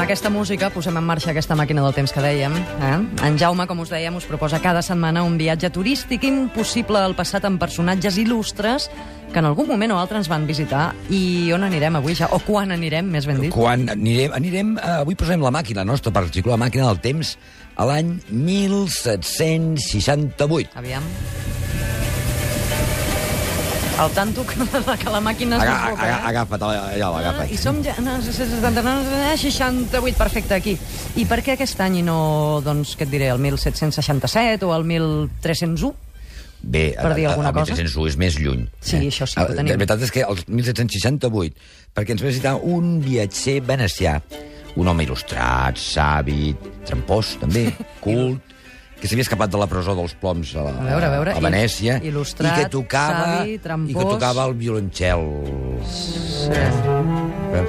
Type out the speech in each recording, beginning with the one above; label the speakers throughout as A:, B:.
A: aquesta música posem en marxa aquesta màquina del temps que dèiem. Eh? En Jaume, com us dèiem, us proposa cada setmana un viatge turístic impossible al passat amb personatges il·lustres que en algun moment o altre ens van visitar. I on anirem avui, ja? O quan anirem, més ben dit?
B: Quan anirem, anirem eh, avui posarem la màquina, la nostra particular màquina del temps, a l'any 1768.
A: Aviam. El tanto que, que la màquina es
B: Aga,
A: desboca,
B: aga,
A: eh?
B: agafa't, allò, agafa't.
A: I som ja... no, 68, perfecte, aquí. I per què aquest any i no, doncs, què et diré, el 1767 o el 1301?
B: Bé,
A: Per dir alguna
B: el
A: cosa.
B: 1701 és més lluny. Ah,
A: Sí, això sí que ho tenim.
B: La veritat és que el 1768, perquè ens va visitar un viatger venecià, un home il·lustrat, savi, trampós, també, cult, que s'havia escapat de la presó dels ploms a, la,
A: A veure, a veure,
B: a Venècia,
A: il- il·lustrat,
B: i que tocava,
A: savi, trampós.
B: i que tocava el violoncel.
A: Sí.
B: Veus?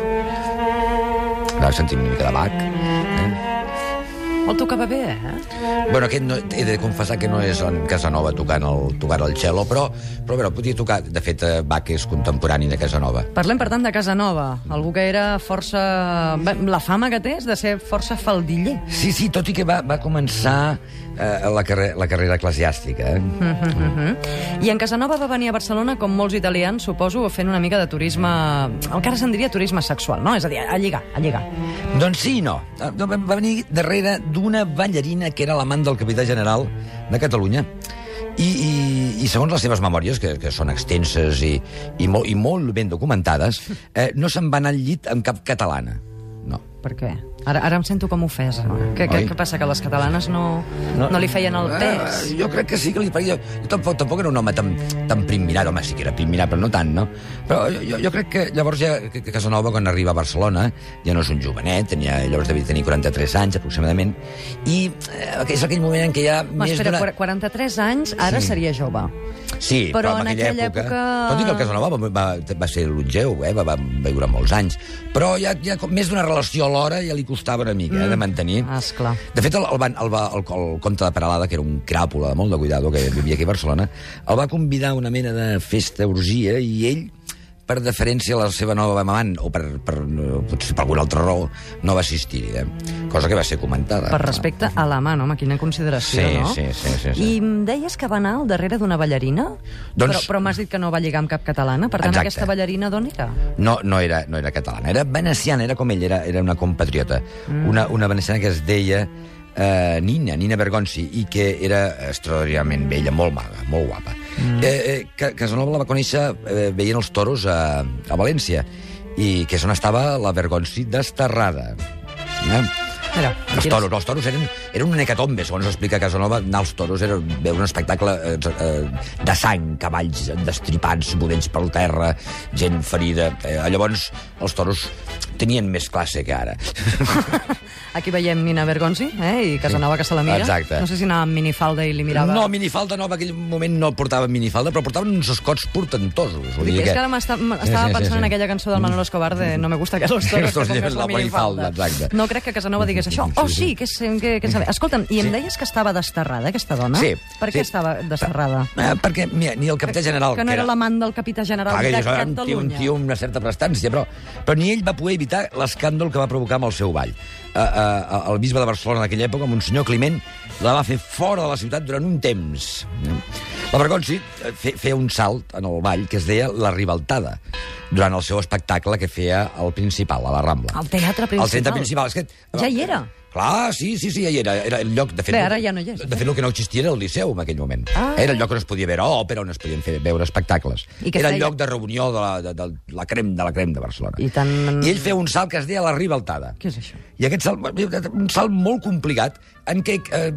B: Ara sentim una mica de Bach. Eh?
A: El tocava bé, eh?
B: Bueno, aquest no, he de confessar que no és en Casanova tocant el, tocant el cello, però, però a veure, podia tocar... De fet, eh, Bach és contemporani de Casanova.
A: Parlem, per tant, de Casanova, algú que era força... Bé, La fama que té és de ser força faldiller.
B: Sí, sí, tot i que va, va començar eh, la, carre la carrera eclesiàstica. Eh? Mm.
A: Mhm, mhm. I en Casanova va venir a Barcelona, com molts italians, suposo, fent una mica de turisme... El que ara se'n diria turisme sexual, no? És a dir, a lligar, a lligar.
B: Doncs sí i no. Eh, no, Va va venir darrere d'una ballarina que era l'amant del capità general de Catalunya. I, i, i segons les seves memòries, que, que són extenses i, i, molt, i molt ben documentades, eh, no se'n va anar al llit amb cap catalana. No.
A: Per què? Ara, ara em sento com ofesa. Què, què,
B: Oi?
A: què passa, que les catalanes no, no, no li feien el
B: Eh,
A: pes?
B: jo crec que sí que li faria... Jo tampoc, tampoc era un home tan, tan primmirat, home, sí que era primmirat, però no tant, no? Però jo- jo, jo crec que llavors ja que que Casanova, quan arriba a Barcelona, ja no és un jovenet, tenia, llavors devia tenir 43 anys, aproximadament, i eh, és aquell moment en què ja...
A: Ma, espera, 43 anys, ara
B: Sí.
A: seria jove.
B: Sí,
A: Però
B: però,
A: en
B: en aquella
A: aquella
B: època...
A: època-
B: Tot i que el Casanova va, va, va ser longeu, eh? va, va, va viure molts anys, però ja, ja com- més d'una relació alhora ja li costava una mica eh, de mantenir.
A: Ah, esclar.
B: De fet, el, el, van, el, va, el, el comte de Peralada, que era un cràpula molt de cuidado, que vivia aquí a Barcelona, el va convidar a una mena de festa orgia i ell per deferència a la seva nova amant, o per, per, eh, potser per alguna altra raó, no va assistir. Eh? Cosa que va ser comentada.
A: Per respecte a la mà, no? Home, quina consideració,
B: Sí,
A: no?
B: sí, sí, sí, sí.
A: I em deies que va anar al darrere d'una ballarina?
B: Doncs-
A: Però, però m'has dit que no va lligar amb cap catalana, per tant,
B: Exacte.
A: aquesta ballarina d'on era?
B: No, no era, no era catalana, era veneciana, era com ell, era, era una compatriota. Mm. Una, una veneciana que es deia eh, Nina, Nina Bergonzi, i que era extraordinàriament bella, molt maga, molt guapa. Mm. Eh, eh, Ca- Casanova la va conèixer eh, veient els toros a, a València, i que és on estava la Bergonzi desterrada. Eh?
A: Mira,
B: Els
A: aquí
B: toros, els toros eren, eren una hecatombe, segons explica Casanova. Anar als toros era veure un espectacle eh, eh, de sang, cavalls destripats, budells per terra, gent ferida. Eh, llavors, els toros tenien més classe que ara.
A: Aquí veiem Nina Bergonzi, eh? I Casanova que se la mira.
B: Exacte.
A: No sé si anava amb minifalda i li mirava...
B: No, minifalda no, en aquell moment no portaven minifalda, però portaven uns escots portentosos. Vull
A: Dic, és que ara m'està- m'estava
B: Sí, sí, sí,
A: pensant
B: sí. Mm.
A: en aquella cançó del Manolo Escobar de No me gusta que los toros
B: Los
A: te pongas
B: lleves
A: la
B: la
A: minifalda.
B: minifalda, exacte.
A: No crec que Casanova digués això. Oh, sí, que, és, que, que sabe. Escolta'm, i em deies que estava desterrada, aquesta dona?
B: Sí,
A: Per què
B: sí.
A: estava desterrada?
B: Eh, perquè, mira, ni el capità general...
A: Que no era l'amant del capità general
B: Clar, que
A: de
B: això era un tio, un
A: Catalunya.
B: tio amb una certa prestància, però, però ni ell va poder evitar l'escàndol que va provocar amb el seu ball. Uh, uh, el bisbe de Barcelona d'aquella època, Monsenyor Climent, la va fer fora de la ciutat durant un temps. La Bergonzi eh, fe, feia un salt en el ball que es deia La Ribaltada, durant el seu espectacle que feia al Principal, a la Rambla.
A: Al teatre
B: Al centre
A: principal.
B: principal. És que,
A: Ja hi era.
B: Clar, sí, sí, sí, ja hi era. Era el lloc, de fet...
A: Bé, ara ja no hi és.
B: De fet, el que no existia era el Liceu en aquell moment.
A: Ah.
B: Era el lloc on es podia veure òpera, on es podien fer, veure espectacles.
A: I què
B: Era
A: feia?
B: el lloc de reunió de la, de, de, la crem de la crem de Barcelona.
A: I tant-
B: I ell feia un salt que es deia la ribaltada.
A: Què és això?
B: I aquest salt, un salt molt complicat, en què, eh,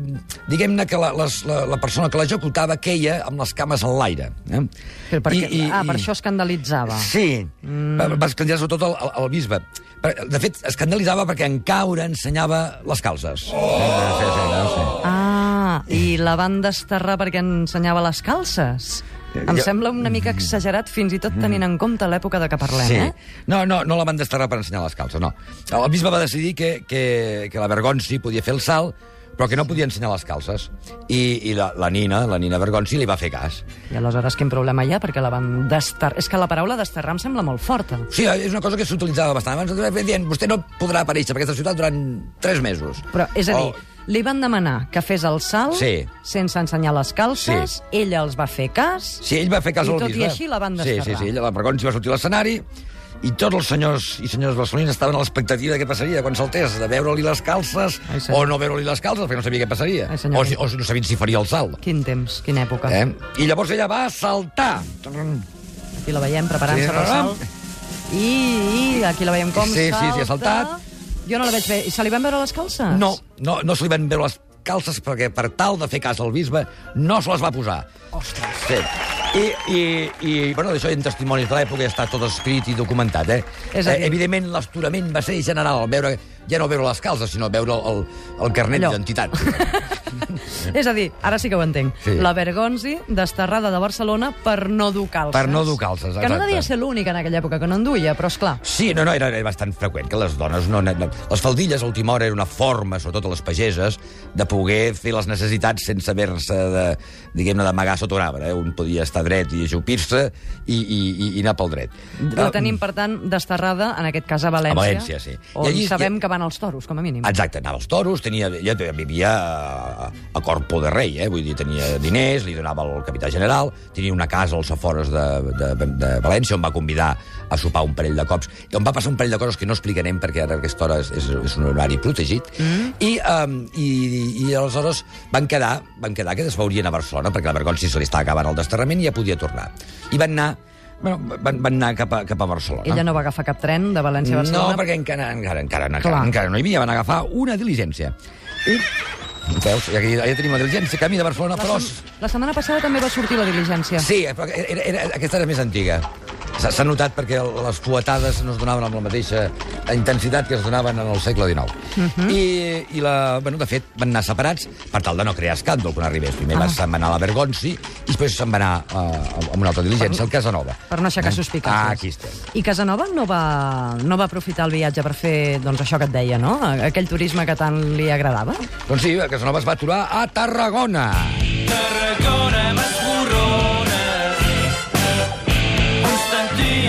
B: diguem-ne, que la, les, la, la persona que l'executava queia amb les cames en l'aire. Eh?
A: Però per què- ah, per això escandalitzava.
B: Sí,
A: Mm.
B: va, va escandalitzar sobretot el, el, el bisbe. Per- De fet, escandalitzava perquè en caure ensenyava les calces. Oh! Sí, sí, sí, sí.
A: Ah, i la van desterrar perquè ensenyava les calces. Em
B: Jo- Mm.
A: sembla una mica exagerat, fins i tot tenint en compte l'època de què parlem,
B: sí.
A: eh?
B: No, no, no la van desterrar per ensenyar les calces, no. El bisbe va decidir que, que, que la Bergonzi podia fer el salt, però que no podia ensenyar les calces. I, i la, la Nina, la Nina Vergonzi, li va fer cas.
A: I aleshores quin problema hi ha? Perquè la van desterrar... És que la paraula desterrar em sembla molt forta.
B: Sí, és una cosa que s'utilitzava bastant. Abans nosaltres dient, vostè no podrà aparèixer per aquesta ciutat durant 3 mesos.
A: Però, és a dir,
B: O-
A: li van demanar que fes el salt
B: Oh. Sí.
A: sense ensenyar les calces, sí. ella els va fer cas...
B: Sí, ell va fer cas
A: I
B: al
A: tot i
B: bisbe.
A: així la van
B: Sí, sí,
A: desterrar.
B: sí, ella, la Vergonzi va sortir a l'escenari i tots els senyors i senyores barcelonins estaven a l'expectativa de què passaria quan saltés, de veure-li les calces
A: Ai, senyor.
B: o no veure-li les calces, perquè no sabia què passaria.
A: Ai, senyor.
B: o, si, o si no sabia si faria el salt.
A: Quin temps, quina època.
B: Eh? I llavors ella va saltar.
A: Aquí la veiem preparant-se
B: Sí,
A: sí, pel
B: no, no.
A: salt. I, I aquí la veiem com
B: Sí, sí,
A: salta.
B: sí, ha saltat.
A: Jo no la veig bé. I se li van veure les calces?
B: No, no, no se li van veure les calces perquè per tal de fer cas al bisbe no se les va posar.
A: Ostres.
B: Sí. I, i, i bueno, d'això hi ha testimonis de l'època, ja està tot escrit i documentat, eh?
A: És a dir-
B: eh evidentment, l'astorament va ser general, veure, ja no veure les calces, sinó veure el, el carnet
A: Allò.
B: d'identitat.
A: És a dir, ara sí que ho entenc.
B: Sí.
A: La Vergonzi, desterrada de Barcelona per no dur calces.
B: Per no dur calces,
A: Que no
B: exacte.
A: devia ser l'única en aquella època que no en duia, però és clar.
B: Sí, no, no, era, era bastant freqüent que les dones... No, no, no. Les faldilles, a última hora, era una forma, sobretot a les pageses, de poder fer les necessitats sense haver-se de, diguem-ne, d'amagar sota un arbre. Eh? Un podia estar dret i ajupir-se i, i, i, i anar pel dret.
A: La
B: Eh,
A: tenim, per tant, desterrada, en aquest cas, a València.
B: A València, sí.
A: On
B: I allí- Ah.
A: sabem
B: i-
A: que van els toros, com a mínim.
B: Exacte, anava als toros, tenia, ella te- vivia a, a Corpo de Rei, eh? vull dir, tenia diners, li donava el capità general, tenia una casa als afores de, de, de València on va convidar a sopar un parell de cops, i on va passar un parell de coses que no explicarem perquè ara a aquesta hora és, és, és un horari protegit, mm. I, um, i, i aleshores van quedar, van quedar que desfaurien a Barcelona perquè la Vergonzi se li estava acabant el desterrament i ja podia tornar. I van anar, bueno, van, van anar cap a, cap a Barcelona.
A: Ella no va agafar cap tren de València a Barcelona.
B: No, perquè encara, encara, encara, encara,
A: Clar.
B: encara no hi havia, van agafar una diligència. I, veus, ja, que- ja tenim la diligència, camí de Barcelona,
A: La,
B: però...
A: sem- la setmana passada també va sortir la diligència.
B: Sí, eh, però era, era, aquesta era més antiga. S'ha s'ha notat perquè les fuetades no es donaven amb la mateixa intensitat que es donaven en el segle XIX.
A: Mhm.
B: I, i la, bueno, de fet, van anar separats per tal de no crear escàndol quan arribés. Primer ah. va se'n va anar a la Vergonzi i després se'n va anar uh, amb una altra diligència, al Casanova.
A: Per no aixecar suspicàcies.
B: Ah, aquí estem.
A: I Casanova no va, no va aprofitar el viatge per fer doncs, això que et deia, no? Aquell turisme que tant li agradava.
B: Doncs sí, Casanova es va aturar a Tarragona.
C: Tarragona m'esborrona. Constantí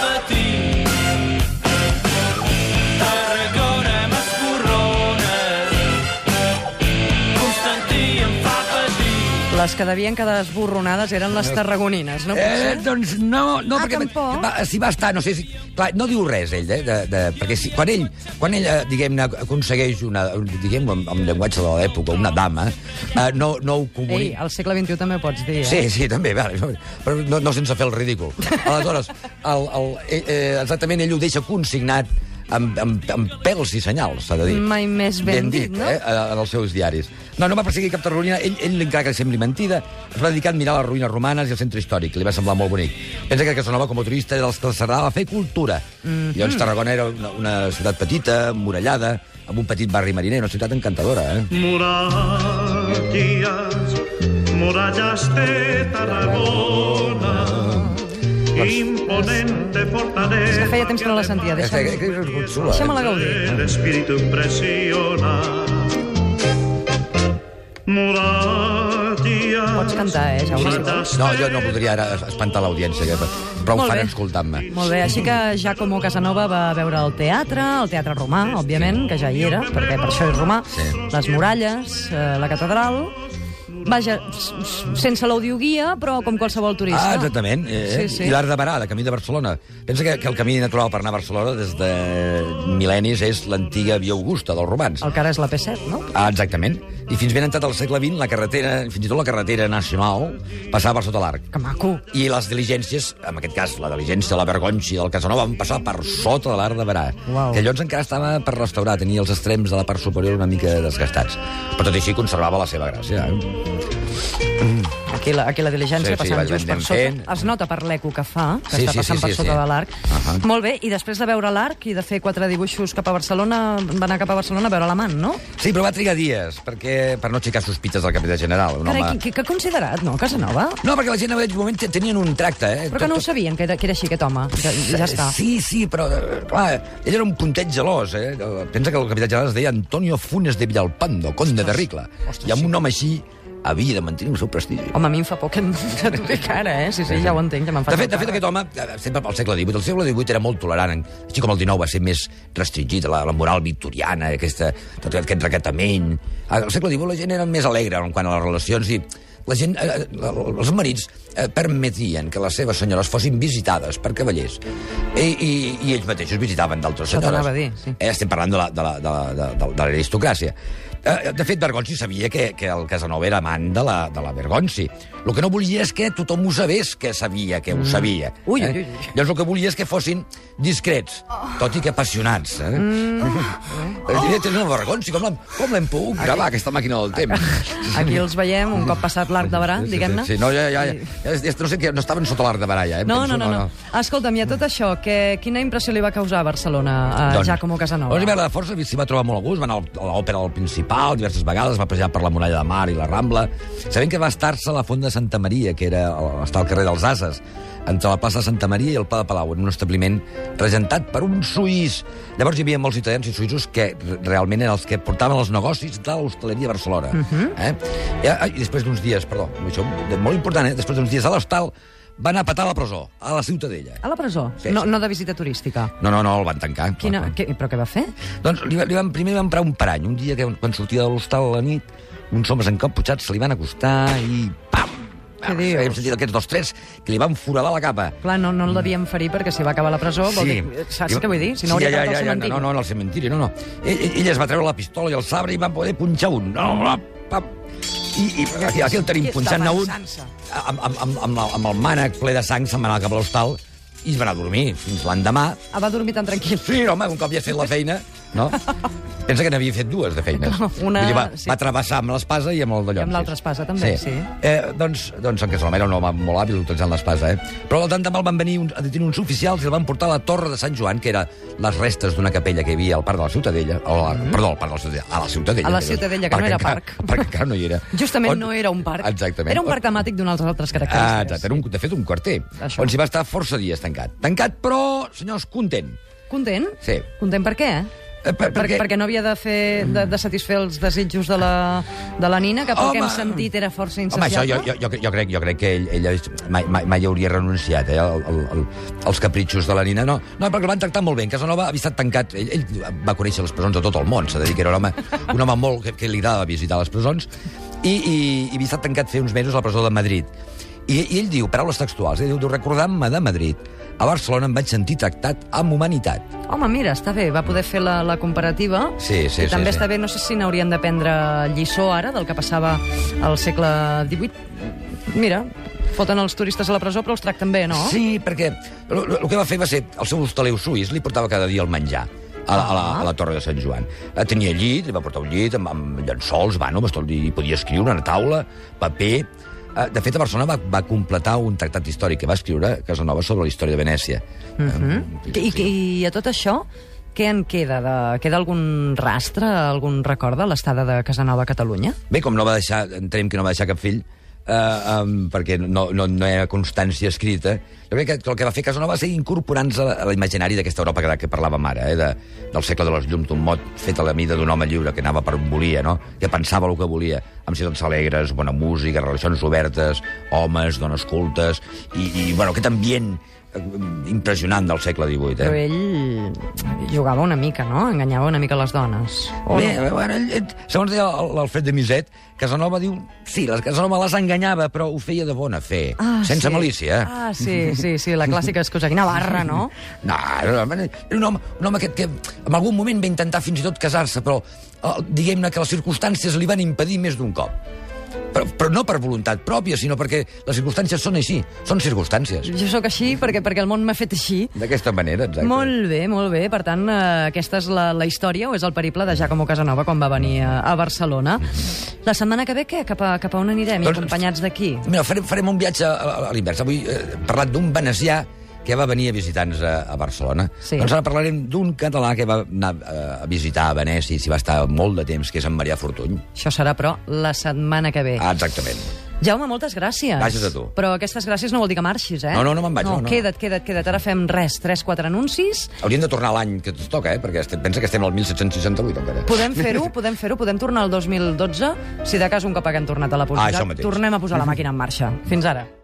C: patir. Tarragona m'esborrona. Constantí em fa patir.
A: Les que devien quedar esborronades eren les tarragonines, no?
B: Eh, doncs no, no
A: Ah,
B: perquè
A: tampoc?
B: va, si va estar, no sé si... Clar, no diu res, ell, eh, de, de, perquè si, quan ell, quan ell eh, diguem-ne, aconsegueix una, diguem amb, amb llenguatge de l'època, una dama, eh, no, no ho
A: Ei,
B: comunica.
A: al segle XXI també ho pots dir, eh?
B: Sí, sí, també, vale, però no, no sense fer el ridícul. Aleshores, el, el, eh, eh, exactament ell ho deixa consignat amb, amb, amb pèls i senyals, s'ha de dir.
A: Mai més ben dit, no?
B: Eh, en els seus diaris. No, no va perseguir cap tarragonina, ell, ell encara que li sembli mentida, es va dedicar a mirar les ruïnes romanes i el centre històric, li va semblar molt bonic. Pensa que Casanova, com a turista, era dels que els agradava fer cultura. Mm
A: Mhm.
B: -hmm. Llavors Tarragona era una, una ciutat petita, murallada, amb un petit barri mariner, una ciutat encantadora, eh?
D: Murallas, murallas de Tarragona, imponente fortaleza.
A: que feia temps que no la sentia,
B: És que- que- que us consola, eh?
A: Deixa'm-la gaudir.
D: El espíritu impresiona. Murallas.
A: Pots cantar, eh, Jaume, si
D: murallas
B: No, jo no voldria ara espantar l'audiència, que prou
A: Molt
B: fan
A: bé.
B: escoltant-me.
A: Molt bé, així que Giacomo Casanova va veure el teatre, el teatre romà, òbviament, que ja hi era, perquè per això és romà,
B: Sí.
A: les muralles, eh, la catedral... Vaja, s- s- sense l'audioguia, però com qualsevol turista.
B: Ah, exactament. Eh?
A: Sí, sí.
B: I l'art de Barà, de camí de Barcelona. Pensa que, que el camí natural per anar a Barcelona des de mil·lennis és l'antiga Via Augusta dels romans.
A: El que ara és la P7, no?
B: Ah, exactament. I fins ben entrat al segle XX, la carretera, fins i tot la carretera nacional, passava per sota l'arc.
A: Que maco.
B: I les diligències, en aquest cas la diligència, la vergonxi del Casanova, van passar per sota de l'art de Barà.
A: Uau.
B: Que llavors encara estava per restaurar, tenia els extrems de la part superior una mica desgastats. Però tot i així conservava la seva gràcia. Eh?
A: Aquí la, aquí la diligència sí,
B: Sí, sí,
A: passant
B: vaig
A: sí, just per
B: veient
A: sota.
B: fent.
A: Es nota per l'eco que fa, que
B: Sí,
A: està
B: sí,
A: passant
B: sí,
A: per
B: sí,
A: sota
B: sí.
A: de l'arc.
B: Ahà.
A: Molt bé, i després de veure l'arc i de fer quatre dibuixos cap a Barcelona, va anar cap a Barcelona a veure l'amant, no?
B: Sí, però va trigar dies, perquè, per no aixecar sospites del capità general. Un
A: Carai,
B: home...
A: que, que, que considerat, no, Casanova?
B: No, perquè la gent en aquell moment te- tenien un tracte, eh?
A: Però que no ho sabien, que era, que era així aquest home. Ja, ja està.
B: Sí, sí, però, eh, clar, ell era un puntet gelós, eh? Pensa que el capità general es deia Antonio Funes de Villalpando, conde de Ricla.
A: ostres,
B: I amb un nom així havia de mantenir el seu prestigi.
A: Home, a mi em fa por que, em- que t'ho dic ara, eh? Sí, sí, ja ho entenc, ja me'n faig
B: De fet, de
A: el
B: fet,
A: càrrec.
B: aquest home, eh, sempre pel segle XVIII, el segle XVIII era molt tolerant, així com el XIX va ser més restringit a la, la moral victoriana, aquesta, tot aquest recatament. Al segle XVIII la gent era més alegre en quant a les relacions i la gent, eh, la- els marits eh, permetien que les seves senyores fossin visitades per cavallers i, i, i ells mateixos visitaven d'altres
A: Això
B: senyores.
A: t'anava a dir, sí.
B: Eh, estem parlant de la- de la- de la- de- de- de l'aristocràcia. Eh, de fet, Bergonzi sabia que, que el Casanova era amant de la, de la Bergonzi. El que no volia és que tothom ho sabés que sabia que ho sabia.
A: Mm. Ui,
B: eh?
A: ui, Oh. ui, ui.
B: Llavors el que volia és que fossin discrets, tot i que apassionats. Eh? Mm. Oh. Oh. Tens el Bergonzi, com l'hem- com l'hem pogut gravar, aquesta màquina del temps?
A: Aquí els veiem, un cop passat l'arc de Barà, diguem-ne.
B: Sí, sí, no, ja, ja, ja, ja, ja, no sé que no estaven sota l'arc de baralla, eh?
A: No,
B: Penso,
A: no, no, no. Escolta'm, i a tot això, que, quina impressió li va causar a Barcelona a doncs, Giacomo Casanova?
B: Doncs, a veure, de força s'hi va trobar molt a gust, va anar a l'òpera del Principal diverses vegades, va passejar per la Muralla de Mar i la Rambla, sabent que va estar-se a la Font de Santa Maria, que era està al carrer dels Ases, entre la plaça de Santa Maria i el Pla de Palau, en un establiment regentat per un suís. Llavors hi havia molts italians i suïssos que re- realment eren els que portaven els negocis de l'hostaleria a Barcelona. Uh
A: Mhm.
B: -huh. eh? I, ah, I després d'uns dies, perdó, això molt important, eh? després d'uns dies a l'hostal, va anar a petar a la presó, a la Ciutadella.
A: A la presó?
B: Sí,
A: No,
B: sí.
A: no de visita turística?
B: No, no, no, el van tancar.
A: Quina,
B: Clar, clar.
A: que, però què va fer?
B: Doncs li, va- li van, primer li van parar un parany. Un dia que quan sortia de l'hostal a la nit, uns homes encaputxats se li van acostar i... Pam!
A: Què
B: Vam-
A: dius?
B: Hem sentit aquests dos, tres, que li van foradar la capa.
A: Clar, no, no el devien ferir perquè si va acabar a la presó... Oh, Vol dir, saps què vull dir? Si no
B: sí,
A: hauria
B: ja, ja,
A: acabat
B: ja,
A: al
B: ja,
A: cementiri.
B: no, no, no, al cementiri, no, no. Ell, ell, ell es va treure la pistola i el sabre i van poder punxar un. No, no, pam. I, i aquí, aquí el tenim
A: Qui està
B: punxant a un
A: pensant-se?
B: amb, amb, amb, amb, la- amb el mànec ple de sang, se'n va anar cap a l'hostal i es va anar a dormir fins l'endemà.
A: Ah, va dormir tan tranquil.
B: Sí, home, un cop ja has fet la feina, no? Pensa que n'havia fet dues, de feines.
A: Una-
B: Vull dir, va,
A: sí.
B: sí. va travessar amb l'espasa i amb el de llonsis.
A: l'altra espasa, també, sí.
B: Eh, doncs, doncs en Casaloma era un home molt hàbil utilitzant l'espasa, eh? Però al tant de mal van venir uns, a detenir uns oficials i el van portar a la Torre de Sant Joan, que era les restes d'una capella que hi havia al parc de la Ciutadella, o la, mm -hmm. perdó, al parc de la Ciutadella, a la Ciutadella.
A: Mm-hmm. A la
B: que
A: Ciutadella, que no era
B: encara-
A: parc.
B: Perquè encara no hi era.
A: Justament
B: On-
A: no era un parc.
B: Exactament.
A: Era un
B: On-
A: parc temàtic d'unes altres
B: Ah,
A: característiques.
B: exacte, era un, de fet un quarter,
A: Això.
B: on s'hi va estar força dies tancat. Tancat, però, senyors, content.
A: Content?
B: Sí.
A: Content per què?
B: Eh, per-
A: perquè...
B: perquè-
A: perquè no havia de, fer, de, de satisfer els desitjos de la, de la Nina, que pel que hem sentit era força
B: Home, això
A: insaciable.
B: jo, jo, jo, jo, crec, jo crec que ell, ell és- mai, mai, mai hauria renunciat eh, al, al, al, als capritxos de la nina. No, no, perquè el van tractar molt bé. En Casanova havia estat tancat. Ell, ell va conèixer les presons de tot el món. S'ha de dir que era un home, un home molt que, que li agradava visitar les presons. I, i, i havia estat tancat fer uns mesos a la presó de Madrid. I, I ell diu, paraules textuals, ell diu, diu recordant-me de Madrid, a Barcelona em vaig sentir tractat amb humanitat.
A: Home, mira, està bé, va poder fer la, la comparativa.
B: Sí, sí,
A: I
B: sí,
A: també
B: sí.
A: està bé, no sé si n'haurien de prendre lliçó ara del que passava al segle XVIII. Mira, foten els turistes a la presó però els tracten bé, no?
B: Sí, perquè el que va fer va ser... El seu hostaler suís li portava cada dia el menjar a la, a la, a la Torre de Sant Joan. Eh, Tenia llit, li va portar un llit amb, amb llençols, va, no, i podia escriure una taula, paper... Eh, De fet, a Barcelona va, va completar un tractat històric que va escriure Casanova sobre la història de Venècia.
A: I,
B: Mm
A: Mhm. i, I a tot això, què en queda? De, queda algun rastre, algun record de l'estada de Casanova a Catalunya?
B: Bé, com no va deixar, entenem que no va deixar cap fill, eh, um, perquè no, no, no hi ha constància escrita, jo crec que el que va fer Casanova va ser incorporant-se a la- a l'imaginari d'aquesta Europa que, que parlàvem ara, eh, de, del segle de les llums, d'un mot fet a la mida d'un home lliure que anava per on volia, no? que pensava el que volia, amb ciutats alegres, bona música, relacions obertes, homes, dones cultes, i, i bueno, aquest ambient eh, impressionant del segle XVIII. Eh?
A: Però ell jugava una mica, no? Enganyava una mica les dones. O
B: Bé, eh,
A: no?
B: bueno, ell- ell- segons deia el- l'Alfred de Miset, Casanova diu... Sí, la Casanova les enganyava, però ho feia de bona fe, sense
A: Ah, sí.
B: malícia. eh?
A: Ah, sí, sí, sí, la clàssica excusa. Quina barra, no?
B: No, era un home, era un home, un home que, que en algun moment va intentar fins i tot casar-se, però eh, diguem-ne que les circumstàncies li van impedir més d'un cop. Però, però no per voluntat pròpia, sinó perquè les circumstàncies són així. Són circumstàncies.
A: Jo sóc així perquè, perquè el món m'ha fet així.
B: D'aquesta manera, exacte.
A: Molt bé, molt bé. Per tant, eh, aquesta és la, la història o és el periple de Giacomo Casanova quan va venir a, a Barcelona. La setmana que ve, què? Cap a, cap a on anirem?
B: Doncs-
A: Doncs... Acompanyats d'aquí?
B: Mira, farem, farem un viatge a, a, a l'invers. Avui eh, hem parlat d'un venecià que va venir a visitar-nos a, a Barcelona.
A: Sí.
B: Doncs ara parlarem d'un català que va anar eh, a visitar a Venècia i s'hi va estar molt de temps, que és en Marià Fortuny.
A: Això serà, però, la setmana que ve.
B: Ah, exactament.
A: Jaume, moltes gràcies.
B: Gràcies a tu.
A: Però aquestes gràcies no vol dir que marxis, eh?
B: No, no, no me'n vaig,
A: No,
B: no, no.
A: queda't, queda't, queda't. Ara fem res, 3-4 anuncis.
B: Hauríem de tornar a l'any que ens toca, eh? Perquè este, pensa que estem al 1768, encara.
A: Podem fer-ho, podem fer-ho, podem tornar al 2012, si de cas un cop haguem tornat a la
B: Ah,
A: publicitat.
B: això mateix. Mm-hmm.
A: tornem a posar la màquina en marxa. Fins ara.